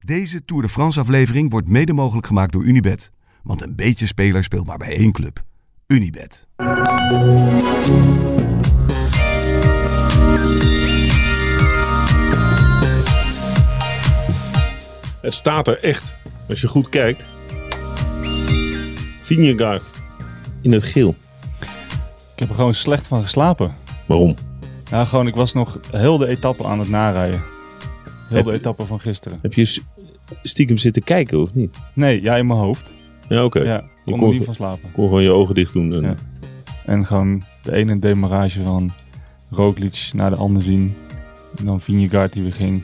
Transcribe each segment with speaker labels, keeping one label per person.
Speaker 1: Deze Tour de France aflevering wordt mede mogelijk gemaakt door Unibet. Want een beetje speler speelt maar bij één club. Unibet.
Speaker 2: Het staat er echt, als je goed kijkt. Vingegaard in het geel.
Speaker 3: Ik heb er gewoon slecht van geslapen.
Speaker 2: Waarom?
Speaker 3: Nou, gewoon, ik was nog heel de etappe aan het narijden. Heel
Speaker 2: Heb-
Speaker 3: de etappe van gisteren.
Speaker 2: Heb je s- stiekem zitten kijken of niet?
Speaker 3: Nee, ja, in mijn hoofd.
Speaker 2: Ja, oké.
Speaker 3: Ja,
Speaker 2: Je
Speaker 3: kon
Speaker 2: kon-
Speaker 3: er niet van slapen.
Speaker 2: Kon gewoon je ogen dicht doen. En
Speaker 3: Ja. En gewoon de ene demarage van Roglic naar de ander zien. En dan Vingegaard die weer ging.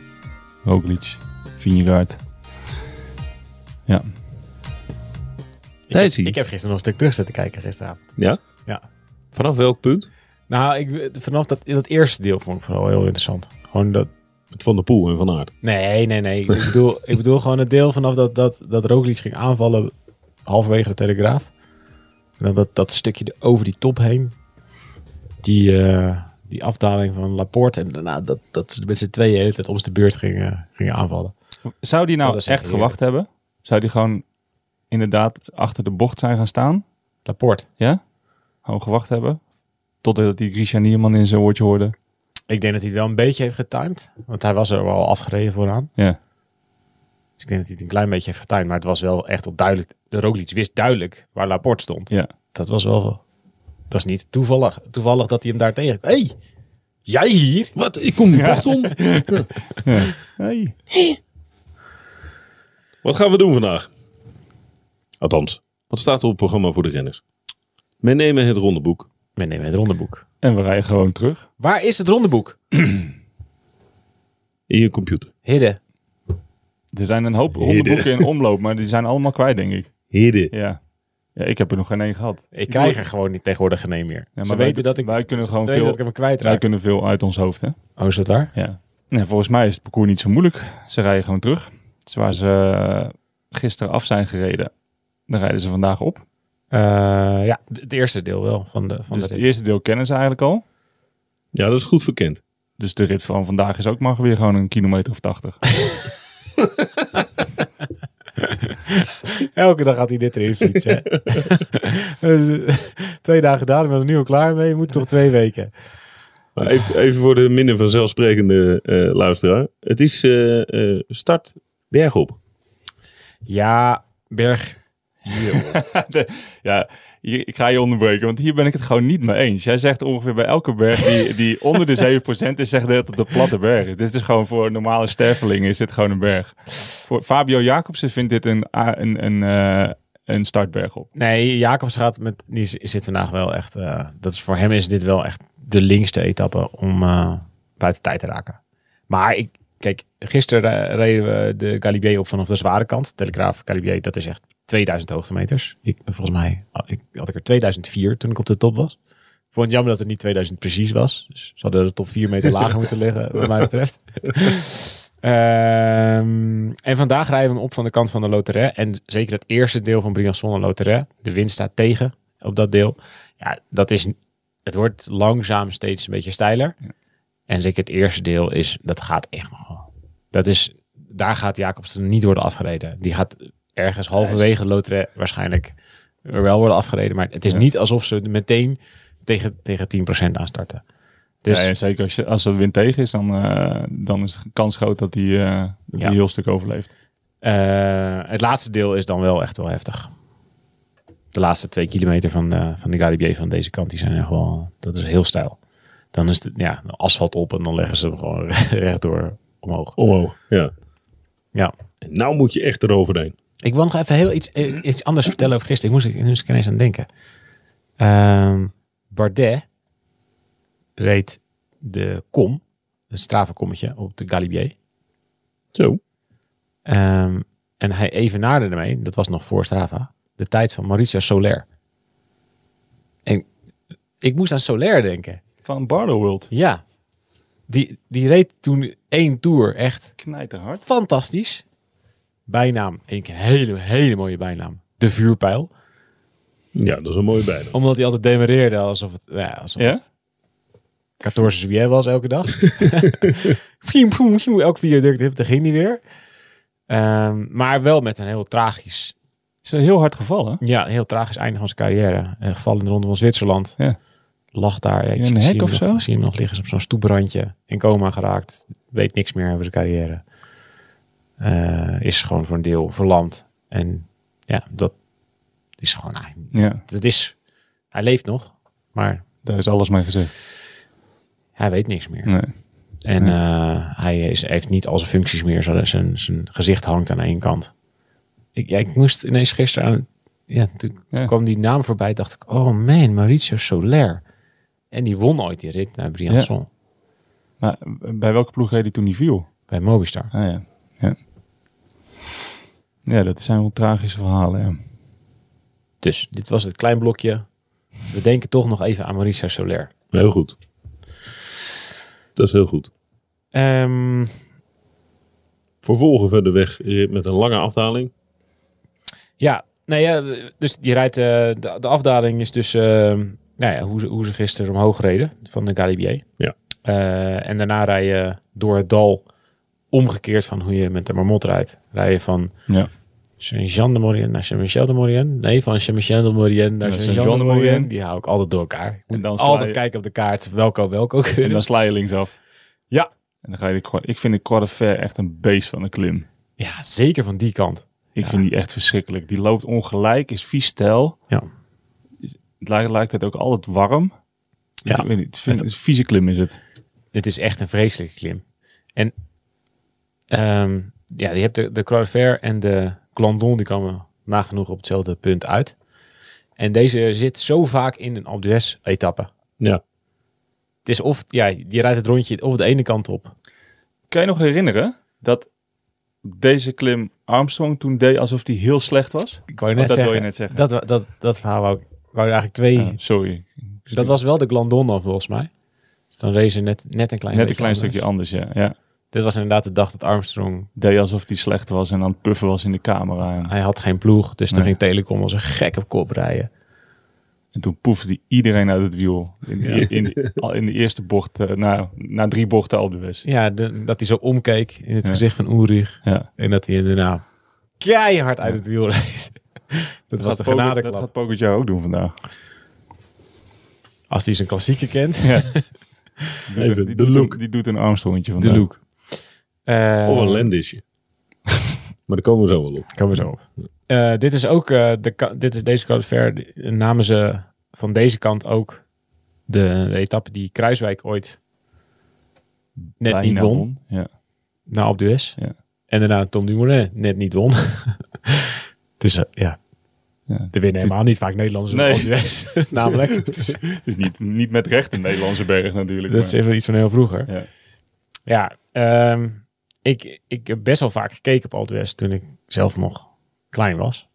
Speaker 3: Roglic, Vingegaard.
Speaker 2: Thijs,
Speaker 4: Ik heb gisteren nog een stuk terug zitten kijken gisteravond.
Speaker 2: Ja?
Speaker 4: Ja.
Speaker 2: Vanaf welk punt?
Speaker 4: Nou, ik, vanaf dat, dat eerste deel vond ik vooral heel interessant. Gewoon dat...
Speaker 2: Het Van der Poel en Van Aert.
Speaker 4: Nee, nee, nee. Ik bedoel, ik bedoel gewoon het deel vanaf dat, dat, dat Roglic ging aanvallen halverwege de Telegraaf. En dan dat, dat stukje er over die top heen. Die, eh, die afdaling van Laporte. En daarna dat, dat ze met z'n tweeën de hele tijd om de beurt gingen, gingen aanvallen.
Speaker 3: Zou die nou
Speaker 4: Dat is
Speaker 3: echt
Speaker 4: echt
Speaker 3: gewacht hebben? Zou die gewoon inderdaad achter de bocht zijn gaan staan?
Speaker 4: Laporte.
Speaker 3: Ja? Gewoon gewacht hebben? Totdat die Grisha Nierman in zijn woordje hoorde.
Speaker 4: Ik denk dat hij het wel een beetje heeft getimed. Want hij was er al afgereden vooraan.
Speaker 3: Ja.
Speaker 4: Dus ik denk dat hij het een klein beetje heeft getimed. Maar het was wel echt al duidelijk. De Roglic wist duidelijk waar Laporte stond.
Speaker 3: Ja.
Speaker 4: Dat was wel... Dat is niet toevallig, toevallig dat hij hem daar tegen... hey, jij hier?
Speaker 2: Wat? Ik kom de bocht om.
Speaker 3: ja. Hey.
Speaker 2: Wat gaan we doen vandaag? Althans, wat staat er op het programma voor de renners? We nemen het rondeboek.
Speaker 4: We nemen het rondeboek.
Speaker 3: En we rijden gewoon terug.
Speaker 4: Waar is het rondeboek?
Speaker 2: In je computer.
Speaker 4: Hidden.
Speaker 3: Er zijn een hoop hondenboeken in omloop, maar die zijn allemaal kwijt, denk ik.
Speaker 2: Hidden.
Speaker 3: Ja. ja ik heb er nog geen één gehad.
Speaker 4: Ik krijg er gewoon niet tegenwoordig geen een meer.
Speaker 3: Ja,
Speaker 4: ze
Speaker 3: maar wij-
Speaker 4: weten dat ik...
Speaker 3: wij kunnen
Speaker 4: ze
Speaker 3: gewoon
Speaker 4: weten
Speaker 3: veel-
Speaker 4: dat ik hem
Speaker 3: Wij
Speaker 4: kwijtraak.
Speaker 3: kunnen veel uit ons hoofd, hè?
Speaker 4: Oh, is dat waar?
Speaker 3: Ja. Nee, volgens mij is het parcours niet zo moeilijk. Ze rijden gewoon terug. Dus waar ze eh, gisteren af zijn gereden, daar rijden ze vandaag op.
Speaker 4: Eh, ja, d- het eerste deel wel van de, van
Speaker 3: dus
Speaker 4: de
Speaker 3: het
Speaker 4: rit.
Speaker 3: eerste deel kennen ze eigenlijk al.
Speaker 2: Ja, dat is goed verkend.
Speaker 3: Dus de rit van vandaag is ook maar weer gewoon een kilometer of tachtig.
Speaker 4: Elke dag gaat hij dit erin fietsen. hè. Dus, eh, twee dagen gedaan, ik ben er nu al klaar mee. Moet nog twee weken.
Speaker 2: Maar even, even voor de minder vanzelfsprekende eh, luisteraar. Het is eh, eh, start bergop.
Speaker 4: Ja, Berg.
Speaker 3: ja, hier- ik ga je onderbreken, want hier ben ik het gewoon niet mee eens. Jij zegt ongeveer bij elke berg die, die onder de 7% is, zegt dat het een platte berg is. Dit is gewoon voor normale stervelingen, is dit gewoon een berg. Voor Fabio Jacobsen vindt dit een, a- een, een, eh, een startberg op.
Speaker 4: Nee, Jacobs gaat met. Die z- zit vandaag wel echt. eh, dat is, voor hem is dit wel echt de linkste etappe om eh, buiten tijd te raken. Maar ik. Kijk, gisteren eh, reden we de Galibier op vanaf de zware kant. Telegraaf Galibier, dat is echt 2000 hoogtemeters. Ik, volgens mij had ik, had ik er 2004 toen ik op de top was. Ik vond het jammer dat het niet 2000 precies was. Dus ze hadden de top 4 meter lager moeten liggen, wat mij betreft. Ehm, en vandaag rijden we hem op van de kant van de Loteret. En zeker het eerste deel van Briançon en Loteret. De wind staat tegen op dat deel. Ja, dat is, het wordt langzaam steeds een beetje steiler. En zeker het eerste deel is, dat gaat echt nog wel. Dat is, daar gaat Jacobsen niet worden afgereden. Die gaat ergens halverwege Loteret waarschijnlijk wel worden afgereden. Maar het is
Speaker 3: Ja.
Speaker 4: niet alsof ze meteen tegen, tegen 10% aanstarten. Dus
Speaker 3: Dus zeker als, je, als de wind tegen is, dan, eh, dan is de kans groot dat hij eh, dat hij
Speaker 4: Ja.
Speaker 3: heel stuk overleeft.
Speaker 4: Eh, het laatste deel is dan wel echt wel heftig. De laatste twee kilometer van, eh, van de Galibier van deze kant, die zijn echt wel, dat is heel stijl. Dan is het ja, asfalt op en dan leggen ze hem gewoon rechtdoor omhoog.
Speaker 2: Omhoog. Ja.
Speaker 4: Ja.
Speaker 2: En nou moet je echt eroverheen.
Speaker 4: Ik wil nog even heel iets, eh, iets anders vertellen over gisteren. Ik moest, ik moest ik ineens aan denken. Ehm, Bardet reed de kom, een stravenkommetje op de Galibier.
Speaker 2: Zo.
Speaker 4: Ehm, en hij evenaarde ermee, dat was nog voor Strava, de tijd van Mauricio Soler. En ik moest aan Soler denken.
Speaker 3: Van Bardo World.
Speaker 4: Ja. Die, die reed toen één tour echt
Speaker 3: Knijterhard.
Speaker 4: fantastisch. Bijnaam vind ik een hele, hele mooie bijnaam. De vuurpijl.
Speaker 2: Ja, dat is een mooie bijna.
Speaker 4: Omdat hij altijd demareerde alsof het, nou ja, alsof
Speaker 3: Ja?
Speaker 4: 14 juillet was elke dag. Piem, poem, poem, Elk viaduct, daar ging hij weer. Ehm, maar wel met een heel tragisch,
Speaker 3: is wel heel hard gevallen.
Speaker 4: ja, een heel tragisch einde van zijn carrière. Een geval in de Ronde van Zwitserland.
Speaker 3: Ja.
Speaker 4: Lag daar. Ik
Speaker 3: In een
Speaker 4: zie
Speaker 3: hek
Speaker 4: hem
Speaker 3: of
Speaker 4: nog-
Speaker 3: zo?
Speaker 4: ik Zie hem nog liggen is op zo'n stoeprandje. In coma geraakt. Weet niks meer over zijn carrière. Eh, is gewoon voor een deel verlamd. En ja, dat is gewoon... nou,
Speaker 3: Ja,
Speaker 4: Dat is, hij leeft nog, maar
Speaker 3: daar is alles mee gezegd.
Speaker 4: hij weet niks meer.
Speaker 3: Nee.
Speaker 4: En eh, hij is, heeft niet al zijn functies meer. Zo- Zijn, zijn gezicht hangt aan één kant. Ik, ja, ik moest ineens gisteren aan... Ja, toen, toen
Speaker 3: Ja.
Speaker 4: kwam die naam voorbij. dacht ik, oh man, Mauricio Soler. En die won ooit die rit naar Briançon.
Speaker 3: Maar bij welke ploeg reed hij toen die viel?
Speaker 4: Bij Movistar.
Speaker 3: Ah ja. Ja, ja dat zijn wel tragische verhalen, ja.
Speaker 4: Dus dit was het klein blokje. We denken toch nog even aan Mauricio Soler.
Speaker 2: Heel goed. Dat is heel goed.
Speaker 4: Ehm,
Speaker 2: Vervolgen verder weg eh, met een lange afdaling.
Speaker 4: Ja, nou ja, dus die rijdt, eh, de, de afdaling is dus eh, nou ja, hoe, ze, hoe ze gisteren omhoog reden van de Galibier.
Speaker 2: Ja.
Speaker 4: Eh, en daarna rij je door het dal omgekeerd van hoe je met de marmot rijdt. Rij je van
Speaker 3: Ja.
Speaker 4: Saint-Jean de Maurienne naar Saint-Michel de Maurienne. Nee, van Saint-Michel de Maurienne naar
Speaker 3: Ja,
Speaker 4: Saint-Jean de Maurienne. Die hou ik altijd door elkaar. Ik moet
Speaker 3: En dan sla
Speaker 4: altijd
Speaker 3: je-
Speaker 4: kijken op de kaart welke welke ook
Speaker 3: En
Speaker 4: weer.
Speaker 3: dan sla je linksaf.
Speaker 4: Ja.
Speaker 3: En dan ga je de Cor- Ik vind de Cordefair echt een beest van een klim.
Speaker 4: Ja, zeker van die kant.
Speaker 3: Ik vind die echt verschrikkelijk. Die loopt ongelijk, is vies stijl.
Speaker 4: Ja.
Speaker 3: Is- Het lijkt, lijkt het ook altijd warm.
Speaker 4: Ja.
Speaker 3: Ik weet niet, het vind- het is een vieze klim is het.
Speaker 4: Dit is echt een vreselijke klim. En ehm, ja, je hebt de, de Croix de Fer en de Glandon, die komen nagenoeg op hetzelfde punt uit. En deze zit zo vaak in een Alpe d'Huez etappe.
Speaker 2: Ja.
Speaker 4: Het is of, ja, je rijdt het rondje of de ene kant op.
Speaker 3: Kan je nog herinneren dat deze klim Armstrong toen deed alsof die heel slecht was?
Speaker 4: Ik wou
Speaker 3: Oh, dat wil je net zeggen.
Speaker 4: Dat, wa- dat, dat verhaal wou ik, wou ik eigenlijk twee...
Speaker 3: Ja, sorry.
Speaker 4: dat was wel de Glandon dan volgens mij. Dus dan reed ze net, net een klein
Speaker 3: Net een
Speaker 4: beetje
Speaker 3: klein
Speaker 4: anders.
Speaker 3: stukje anders, ja. ja.
Speaker 4: Dit was inderdaad de dag dat Armstrong...
Speaker 3: Deed alsof die slecht was en aan het puffen was in de camera. En,
Speaker 4: Hij had geen ploeg, dus toen
Speaker 3: Nee.
Speaker 4: ging Telecom als een gek op kop rijden.
Speaker 3: en toen poefde die iedereen uit het wiel. In, in, in, al in de eerste bocht, eh, na, na drie bochten al de west.
Speaker 4: Ja, de- dat hij zo omkeek in het
Speaker 3: Ja.
Speaker 4: gezicht van Ulrich.
Speaker 3: Ja.
Speaker 4: En dat hij daarna keihard uit het wiel reed. Dat was de
Speaker 3: Pogacar- Dat
Speaker 4: genadeklap.
Speaker 3: gaat Pogacar ook doen vandaag.
Speaker 4: Als hij zijn klassieke kent.
Speaker 3: Ja. Die
Speaker 2: Even
Speaker 3: doet-
Speaker 2: de
Speaker 3: die doet
Speaker 2: look.
Speaker 3: Een, die doet een Armstrongetje
Speaker 4: De
Speaker 3: vandaag.
Speaker 4: look.
Speaker 2: Of
Speaker 4: Eh,
Speaker 2: een landisje. maar daar komen we zo wel op.
Speaker 4: Komen we zo op. Eh, dit is ook, eh, de, ka- dit is deze kant ver. die- Namen ze van deze kant ook de, de etappe die Kruiswijk ooit net
Speaker 3: Bijna
Speaker 4: niet won.
Speaker 3: Ja.
Speaker 4: Na op de US.
Speaker 3: Ja.
Speaker 4: En daarna Tom Dumoulin net niet won. dus eh, ja.
Speaker 3: Ja.
Speaker 4: Er winnen helemaal niet vaak Nederlanders
Speaker 3: Nee.
Speaker 4: op de US. Namelijk. Dus-
Speaker 3: Het is niet, niet met recht een Nederlandse berg natuurlijk.
Speaker 4: Dat is
Speaker 3: maar-
Speaker 4: even iets van heel vroeger.
Speaker 3: Ja.
Speaker 4: Ja, ehm, ik, ik heb best wel vaak gekeken op Alt West toen ik zelf nog klein was.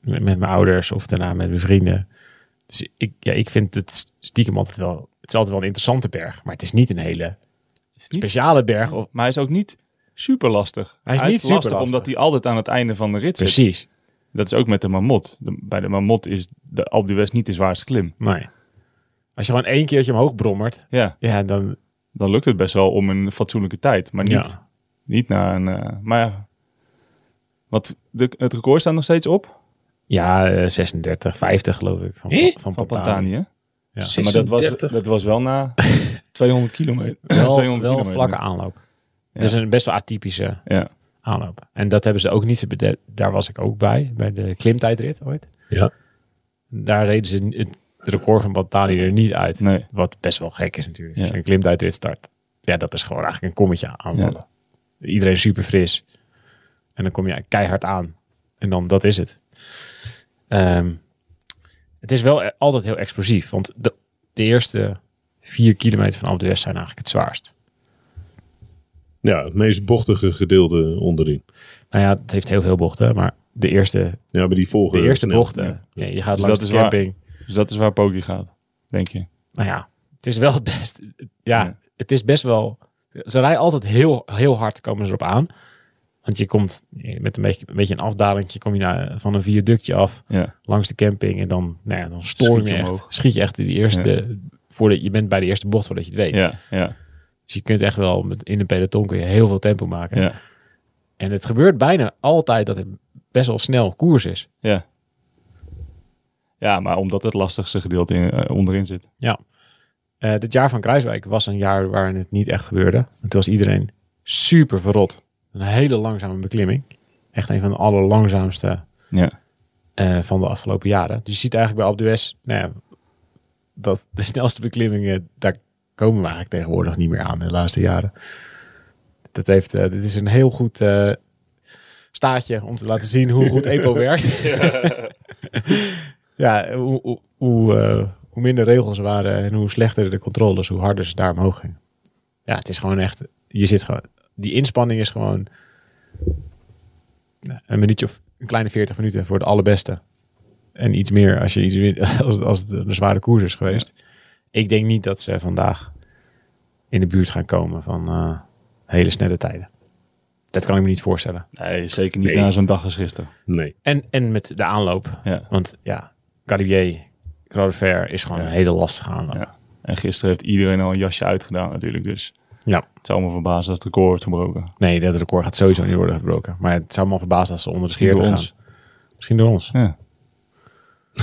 Speaker 4: Met, met mijn ouders of daarna met mijn vrienden. Dus ik, ja, ik vind het stiekem altijd wel... Het is altijd wel een interessante berg, maar het is niet een hele
Speaker 3: Het is niet-
Speaker 4: speciale berg. Of,
Speaker 3: Maar hij is ook niet super lastig.
Speaker 4: Hij is niet
Speaker 3: lastig,
Speaker 4: superlastig.
Speaker 3: omdat hij altijd aan het einde van de rit zit.
Speaker 4: precies.
Speaker 3: Dat is ook met de Marmot. De- bij de Marmot is de Alpe d'Huez niet de zwaarste klim.
Speaker 4: Nee. Als je gewoon één keertje omhoog brommert,
Speaker 3: Ja,
Speaker 4: ja, dan...
Speaker 3: dan lukt het best wel om een fatsoenlijke tijd. Maar niet,
Speaker 4: Ja.
Speaker 3: niet na een... eh, maar ja, wat, de, het record staat nog steeds op
Speaker 4: Ja, eh, 36, 50 geloof ik. Van, van,
Speaker 3: van
Speaker 4: Pantani.
Speaker 3: Pantanië.
Speaker 4: Ja.
Speaker 3: Maar dat was, dat was wel na 200 kilometer. Ja,
Speaker 4: Wel,
Speaker 3: 200
Speaker 4: wel een
Speaker 3: kilometer.
Speaker 4: vlakke aanloop.
Speaker 3: Ja.
Speaker 4: Dus een best wel atypische
Speaker 3: Ja.
Speaker 4: aanloop. En dat hebben ze ook niet. bede- Daar was ik ook bij, bij de klimtijdrit ooit.
Speaker 2: Ja.
Speaker 4: Daar reden ze het record van Bantani er niet uit.
Speaker 3: Nee.
Speaker 4: Wat best wel gek is natuurlijk.
Speaker 3: Ja.
Speaker 4: Als je een klimtijdrit start, ja, dat is gewoon eigenlijk een kommetje aanvallen. Iedereen super fris. En dan kom je keihard aan. En dan, dat is het. Ehm, het is wel eh, altijd heel explosief. Want de, de eerste vier kilometer van Alpe d'Huez zijn eigenlijk het zwaarst.
Speaker 2: Ja, het meest bochtige gedeelte onderin.
Speaker 4: Nou ja, het heeft heel veel bochten, maar de eerste,
Speaker 2: Ja, maar die
Speaker 4: de
Speaker 2: volgen.
Speaker 4: eerste
Speaker 2: snel.
Speaker 4: bochten.
Speaker 2: Ja.
Speaker 4: Ja, je gaat
Speaker 3: Dus
Speaker 4: langs
Speaker 3: dat
Speaker 4: de
Speaker 3: is waar.
Speaker 4: camping.
Speaker 3: Dus dat is waar Pogi gaat, denk je.
Speaker 4: Nou ja, het is wel het best. Ja,
Speaker 3: Ja.
Speaker 4: het is best wel. Ze rijden altijd heel, heel hard, komen ze erop aan. Want je komt met een beetje een, beetje een afdalingje, kom je naar, van een viaductje af
Speaker 3: Ja.
Speaker 4: langs de camping. En dan, nou ja, dan storm
Speaker 3: Schiet
Speaker 4: je
Speaker 3: je
Speaker 4: echt.
Speaker 3: omhoog.
Speaker 4: Schiet je echt in die eerste. Voordat je bent bij de eerste bocht voordat je het weet.
Speaker 3: Ja, ja,
Speaker 4: Dus je kunt echt wel met, in een peloton kun je heel veel tempo maken.
Speaker 3: ja.
Speaker 4: En het gebeurt bijna altijd dat het best wel snel koers is.
Speaker 3: Ja. Ja, maar omdat het lastigste gedeelte in, eh, onderin zit.
Speaker 4: Eh dit jaar van Kruiswijk was een jaar waarin het niet echt gebeurde. Want toen was iedereen super verrot. Een hele langzame beklimming. Echt een van de allerlangzaamste
Speaker 3: Ja.
Speaker 4: eh, van de afgelopen jaren. Dus je ziet eigenlijk bij Alpe d'Huez nou ja, dat de snelste beklimmingen, daar komen we eigenlijk tegenwoordig niet meer aan de laatste jaren. Dat heeft, eh, dit is een heel goed eh, staatje om te laten zien hoe goed EPO werkt. ja, hoe, hoe, hoe, eh, hoe minder regels er waren en hoe slechter de controles, hoe harder ze daar omhoog gingen. Ja, het is gewoon echt, je zit gewoon, die inspanning is gewoon nou, een minuutje of een kleine 40 minuten voor de allerbeste. En iets meer als, je iets win- als, het, als het een zware koers is geweest. Ik denk niet dat ze vandaag in de buurt gaan komen van eh, hele snelle tijden. Dat kan ik me niet voorstellen.
Speaker 3: Nee, zeker niet
Speaker 2: Nee.
Speaker 3: na zo'n dag als gisteren.
Speaker 2: Nee.
Speaker 4: En, en met de aanloop.
Speaker 3: Ja.
Speaker 4: Want ja, Galibier, Crodefer is gewoon
Speaker 3: Ja.
Speaker 4: een hele lastige aanloop.
Speaker 3: Ja. En gisteren heeft iedereen al een jasje uitgedaan natuurlijk. Dus
Speaker 4: Ja.
Speaker 3: het zou me verbazen als het record wordt gebroken.
Speaker 4: Nee, dat record gaat sowieso niet worden gebroken. Maar het zou me al verbazen als ze onder de
Speaker 3: Misschien
Speaker 4: 40
Speaker 3: door
Speaker 4: gaan. Misschien door ons.
Speaker 3: Ja.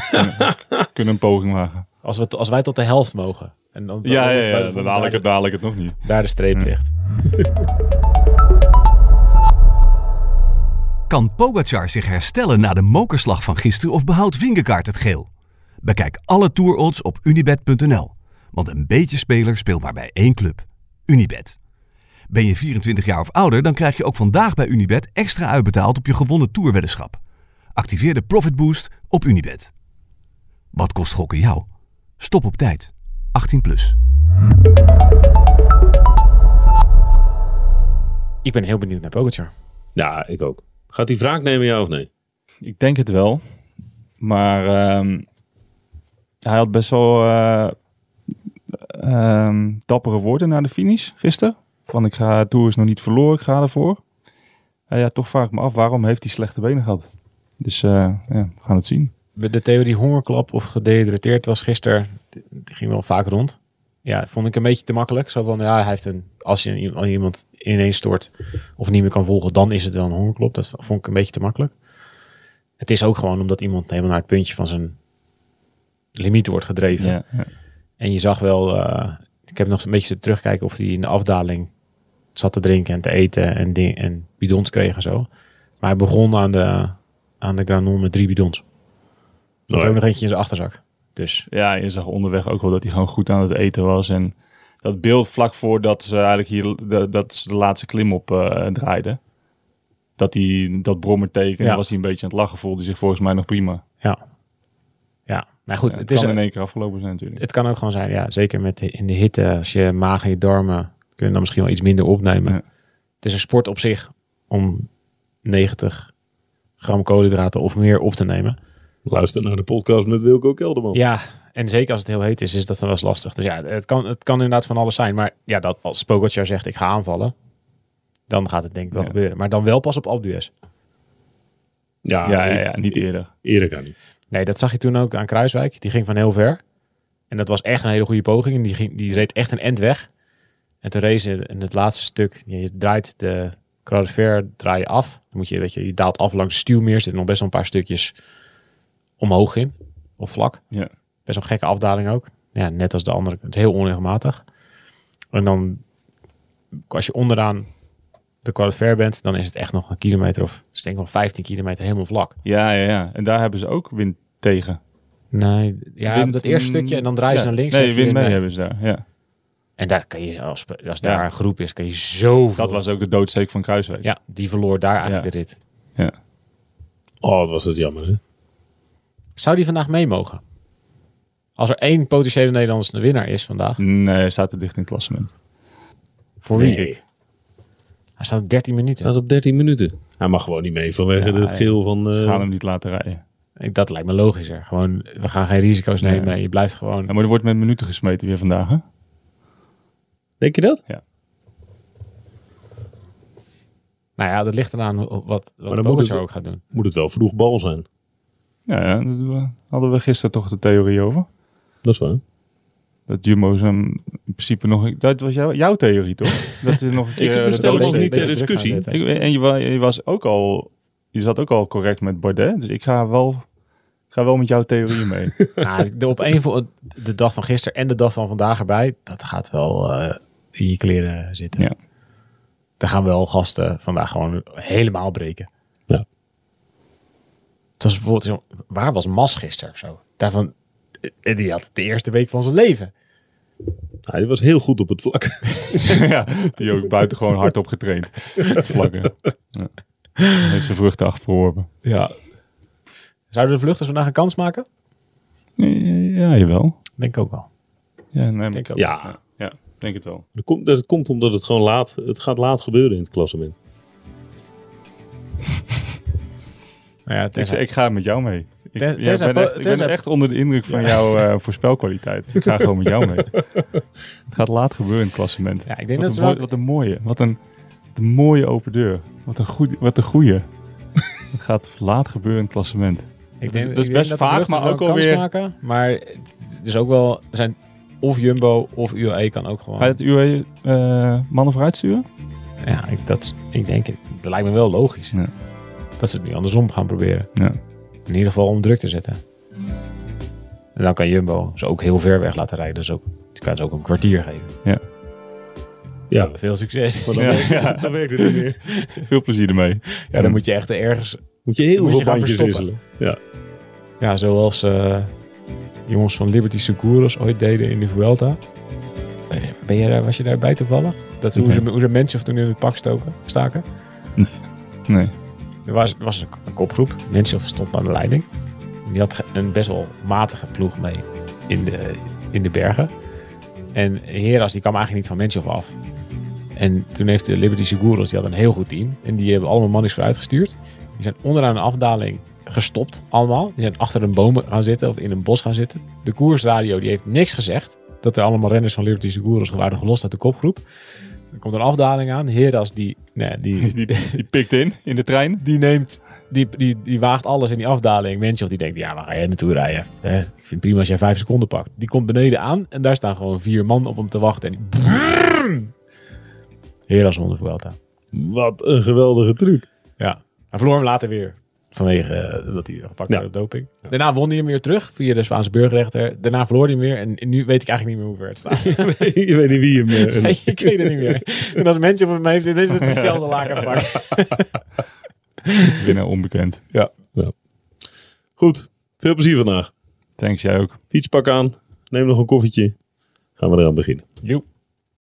Speaker 3: kunnen, kunnen een poging maken.
Speaker 4: Als, we, t- als wij tot de helft mogen. En dan,
Speaker 3: Ja,
Speaker 2: Oh,
Speaker 3: ja, ja,
Speaker 4: dan
Speaker 3: dan haal ik het, dan haal ik het nog niet.
Speaker 4: daar de streep ligt.
Speaker 1: Kan Pogacar zich herstellen na de mokerslag van gisteren of behoudt Vingegaard het geel? Bekijk alle toerodds op unibet.nl. Want een beetje speler speelt maar bij één club. Unibet. Ben je 24 jaar of ouder, dan krijg je ook vandaag bij Unibet extra uitbetaald op je gewonnen toerweddenschap. Activeer de Profit Boost op Unibet. Wat kost gokken jou? Stop op tijd. 18 plus.
Speaker 4: Ik ben heel benieuwd naar Pogacar.
Speaker 2: Ja, ik ook. Gaat hij wraak nemen, ja of nee?
Speaker 3: Ik denk het wel. Maar ehm, hij had best wel eh, ehm, dappere woorden na de finish gisteren. Van ik ga, de Tour is nog niet verloren, ik ga ervoor. Nou ja, toch vraag ik me af, waarom heeft hij slechte benen gehad? Dus eh, ja, we gaan het zien.
Speaker 4: De theorie hongerklap of gedehydrateerd was gisteren, die die ging wel vaak rond. Ja, vond ik een beetje te makkelijk. Zo van, ja, hij heeft een, als je een- als iemand ineens stort of niet meer kan volgen, dan is het wel een hongerklop. Dat vond ik een beetje te makkelijk. Het is ook gewoon omdat iemand helemaal naar het puntje van zijn limiet wordt gedreven.
Speaker 3: Ja, ja.
Speaker 4: En je zag wel, eh, ik heb nog een beetje zitten terugkijken of hij in de afdaling zat te drinken en te eten en, ding, en bidons kreeg en zo. Maar hij begon aan de, aan de Granon met drie bidons. Met
Speaker 3: Oh
Speaker 2: Nou ja.
Speaker 4: ook nog eentje in zijn achterzak. Dus
Speaker 3: Ja, je zag onderweg ook wel dat hij gewoon goed aan het eten was. En dat beeld vlak voordat ze eigenlijk hier de, dat ze de laatste klim op eh draaiden. Dat hij dat brommerteken,
Speaker 4: Ja.
Speaker 3: was hij een beetje aan het lachen, voelde zich volgens mij nog prima.
Speaker 4: ja. Ja, nou goed.
Speaker 3: Ja,
Speaker 4: het
Speaker 3: het
Speaker 4: is,
Speaker 3: kan in één keer afgelopen zijn natuurlijk.
Speaker 4: Het kan ook gewoon zijn, ja, zeker met de- in de hitte, als je maag en je darmen kunnen dan misschien wel iets minder opnemen.
Speaker 3: Ja.
Speaker 4: Het is een sport op zich om 90 gram koolhydraten of meer op te nemen.
Speaker 2: Luister naar de podcast met Wilco Kelderman.
Speaker 4: Ja, en zeker als het heel heet is, is dat dan wel eens lastig. Dus ja, het kan, het kan inderdaad van alles zijn. Maar ja, dat als Pogacar zegt ik ga aanvallen, dan gaat het denk ik wel
Speaker 3: Ja.
Speaker 4: gebeuren. Maar dan wel pas op Alpe d'Huez.
Speaker 2: ja,
Speaker 3: ja, ja, ja, niet
Speaker 2: e-
Speaker 3: eerder.
Speaker 2: eerder kan niet.
Speaker 4: Nee, dat zag je toen ook aan Kruiswijk. Die ging van heel ver. En dat was echt een hele goede poging. En die, ging, die reed echt een end weg. En toen race je in het laatste stuk. Je draait de Croix de Fer draai je af. Dan moet je, weet je, je daalt af langs Stuwmeer. Zitten nog best wel een paar stukjes omhoog in. Of vlak.
Speaker 3: Ja.
Speaker 4: Best wel een gekke afdaling ook. Ja, net als de andere. Het is heel onregelmatig. En dan, als je onderaan de Croix de Fer bent, dan is het echt nog een kilometer of, dus ik denk wel 15 kilometer helemaal vlak.
Speaker 3: Ja, ja, ja. En daar hebben ze ook wind tegen.
Speaker 4: Nee, ja,
Speaker 3: Wind-
Speaker 4: dat eerste stukje en dan draai je
Speaker 3: Ja.
Speaker 4: naar links. en
Speaker 3: Nee,
Speaker 4: dan heb
Speaker 3: wind
Speaker 4: je
Speaker 3: mee
Speaker 4: een-
Speaker 3: hebben ze daar. Ja.
Speaker 4: En daar kan je, als, als
Speaker 3: Ja.
Speaker 4: daar een groep is, kan je zoveel.
Speaker 3: Dat was ook de doodsteek van Kruiswijk.
Speaker 4: Ja, die verloor daar eigenlijk
Speaker 3: Ja.
Speaker 4: de rit.
Speaker 3: Ja.
Speaker 2: Oh, wat was dat jammer, hè?
Speaker 4: Zou die vandaag mee mogen? Als er één potentiële Nederlandse winnaar is vandaag,
Speaker 3: Nee, hij staat er dicht in het klassement.
Speaker 4: voor wie? Hij staat op 13 minuten.
Speaker 2: Staat op 13 minuten. Hij mag gewoon niet mee vanwege het geel van... eh,
Speaker 3: Ze gaan hem niet laten rijden.
Speaker 4: Ik- Dat lijkt me logischer. Gewoon, we gaan geen risico's
Speaker 3: Nee.
Speaker 4: nemen. Je blijft gewoon.
Speaker 3: Ja, maar er wordt met minuten gesmeten weer vandaag, hè?
Speaker 2: Denk je dat?
Speaker 4: Nou ja, dat ligt eraan ho- wat,
Speaker 2: dan
Speaker 4: wat
Speaker 2: moet
Speaker 4: Pogacar
Speaker 2: het-
Speaker 4: ook gaat doen.
Speaker 2: Moet het wel vroeg bal zijn.
Speaker 3: Ja, ja, daar hadden we gisteren toch de theorie over.
Speaker 2: Dat is waar.
Speaker 3: Dat Jumbo's hem in principe nog... Dat was jou- jouw theorie, toch? Dat is nog een keer...
Speaker 2: heb
Speaker 3: de
Speaker 2: bestel
Speaker 3: dood-
Speaker 2: nog niet ter
Speaker 4: Druk gaan
Speaker 2: discussie.
Speaker 4: zetten.
Speaker 3: Ik- en je, wa- je was ook al... Je zat ook al correct met Bardet. Dus ik ga wel, ik ga wel met jouw theorie mee.
Speaker 4: Nou, de, op een voor de dag van gisteren en de dag van vandaag erbij, dat gaat wel eh, in je kleren zitten.
Speaker 3: Ja.
Speaker 4: Daar gaan wel gasten vandaag gewoon helemaal breken.
Speaker 2: Ja.
Speaker 4: Het was bijvoorbeeld, joh, waar was Mas gisteren of zo? Daarvan, eh, die had de eerste week van zijn leven.
Speaker 2: Ah, die was heel goed op het vlak.
Speaker 3: ja, die ook buitengewoon hard op getraind. Het vlakken. Ja. Heeft zijn vruchten afgeworpen.
Speaker 4: Ja. Zouden de vluchters vandaag een kans maken?
Speaker 3: Ja, jawel.
Speaker 4: Denk ook wel.
Speaker 3: Ja, nee, maar-
Speaker 4: Denk ook.
Speaker 2: Ja,
Speaker 3: ja, denk het wel.
Speaker 2: dat komt, dat komt omdat het gewoon laat, het gaat laat gebeuren in het klassement.
Speaker 4: Nou ja,
Speaker 3: Ik,
Speaker 4: tenzij-
Speaker 3: ik ga met jou mee. Ik,
Speaker 4: Ten-
Speaker 3: jij
Speaker 4: tenzij
Speaker 3: bent
Speaker 4: po-
Speaker 3: echt, ik ben
Speaker 4: tenzij-
Speaker 3: echt onder de indruk van jouw eh, voorspelkwaliteit. Dus ik ga gewoon met jou mee. Het gaat laat gebeuren in het klassement.
Speaker 4: Ja, ik denk
Speaker 3: wat,
Speaker 4: dat ze
Speaker 3: een mooi-
Speaker 4: wel-
Speaker 3: wat een mooie. Wat een, wat een mooie open deur. Wat een, goed, wat een goeie. Het gaat laat gebeuren in het klassement.
Speaker 4: Ik
Speaker 3: is-
Speaker 4: denk,
Speaker 3: dat is
Speaker 4: ik denk
Speaker 3: best
Speaker 4: de
Speaker 3: vaag,
Speaker 4: vluchters
Speaker 3: maar
Speaker 4: wel
Speaker 3: ook
Speaker 4: een kans
Speaker 3: alweer-
Speaker 4: Maken, maar het is ook wel, er zijn of Jumbo of UAE kan ook gewoon.
Speaker 3: Ga je het UAE eh, mannen vooruit sturen?
Speaker 4: Ja, ik, dat, ik denk, het- dat lijkt me wel logisch.
Speaker 3: Ja.
Speaker 4: Dat ze het nu andersom gaan proberen.
Speaker 3: Ja.
Speaker 4: In ieder geval om druk te zetten. En dan kan Jumbo ze ook heel ver weg laten rijden. Dus ook, je kan ze ook een kwartier geven.
Speaker 2: Ja,
Speaker 4: Veel succes.
Speaker 2: maar dan,
Speaker 3: Ja.
Speaker 2: werkt, dan werkt het niet meer.
Speaker 3: Veel plezier ermee.
Speaker 4: Ja, dan moet je echt ergens,
Speaker 2: Moet je heel
Speaker 4: Moet je
Speaker 2: veel
Speaker 4: gaan
Speaker 2: bandjes
Speaker 4: verstoppen.
Speaker 2: wisselen. Ja.
Speaker 4: ja, zoals eh, jongens van Liberty Seguros ooit deden in de Vuelta. Ben je- Ben je daar, was je daarbij toevallig? Dat, hoe, ze, hoe ze mensen toen in het pak stoken, staken?
Speaker 3: Nee.
Speaker 4: Er was, er was een, een kopgroep. Mensen stond aan de leiding. En Die had ge- een best wel matige ploeg mee in de, in de bergen. En Heras die kwam eigenlijk niet van Menshoff af. En toen heeft de Liberty Seguros, die had een heel goed team. En die hebben allemaal mannetjes vooruit gestuurd. Die zijn onderaan een afdaling gestopt allemaal. Die zijn achter een boom gaan zitten of in een bos gaan zitten. De koersradio die heeft niks gezegd. Dat er allemaal renners van Liberty Seguros waren gelost uit de kopgroep. Er komt een afdaling aan. Heras die, nee, die,
Speaker 3: Die, die pikt in, in de trein.
Speaker 4: die neemt, die, die, die waagt alles in die afdaling. Mensen of die denkt, ja, waar ga jij naartoe rijden? Hè? Ik vind het prima als jij vijf seconden pakt. Die komt beneden aan en daar staan gewoon vier man op hem te wachten. En die... Heras onder Vuelta.
Speaker 2: Wat een geweldige truc.
Speaker 4: Ja. Hij verloor hem later weer. Vanwege eh, dat hij gepakt
Speaker 2: Ja.
Speaker 4: werd op doping. Daarna won hij hem weer terug via de Spaanse burgerrechter. Daarna verloor hij hem weer. En, en nu weet ik eigenlijk niet meer hoe ver het staat.
Speaker 2: je weet niet wie hem... eh,
Speaker 4: Nee, ik weet het niet meer. En als mensen op hem heeft, dan is het hetzelfde lakenpak.
Speaker 3: Binnen onbekend.
Speaker 2: Goed, veel plezier vandaag.
Speaker 3: Thanks, jij ook.
Speaker 2: Fietspak aan, neem nog een koffietje. Gaan we eraan beginnen.
Speaker 4: Joep.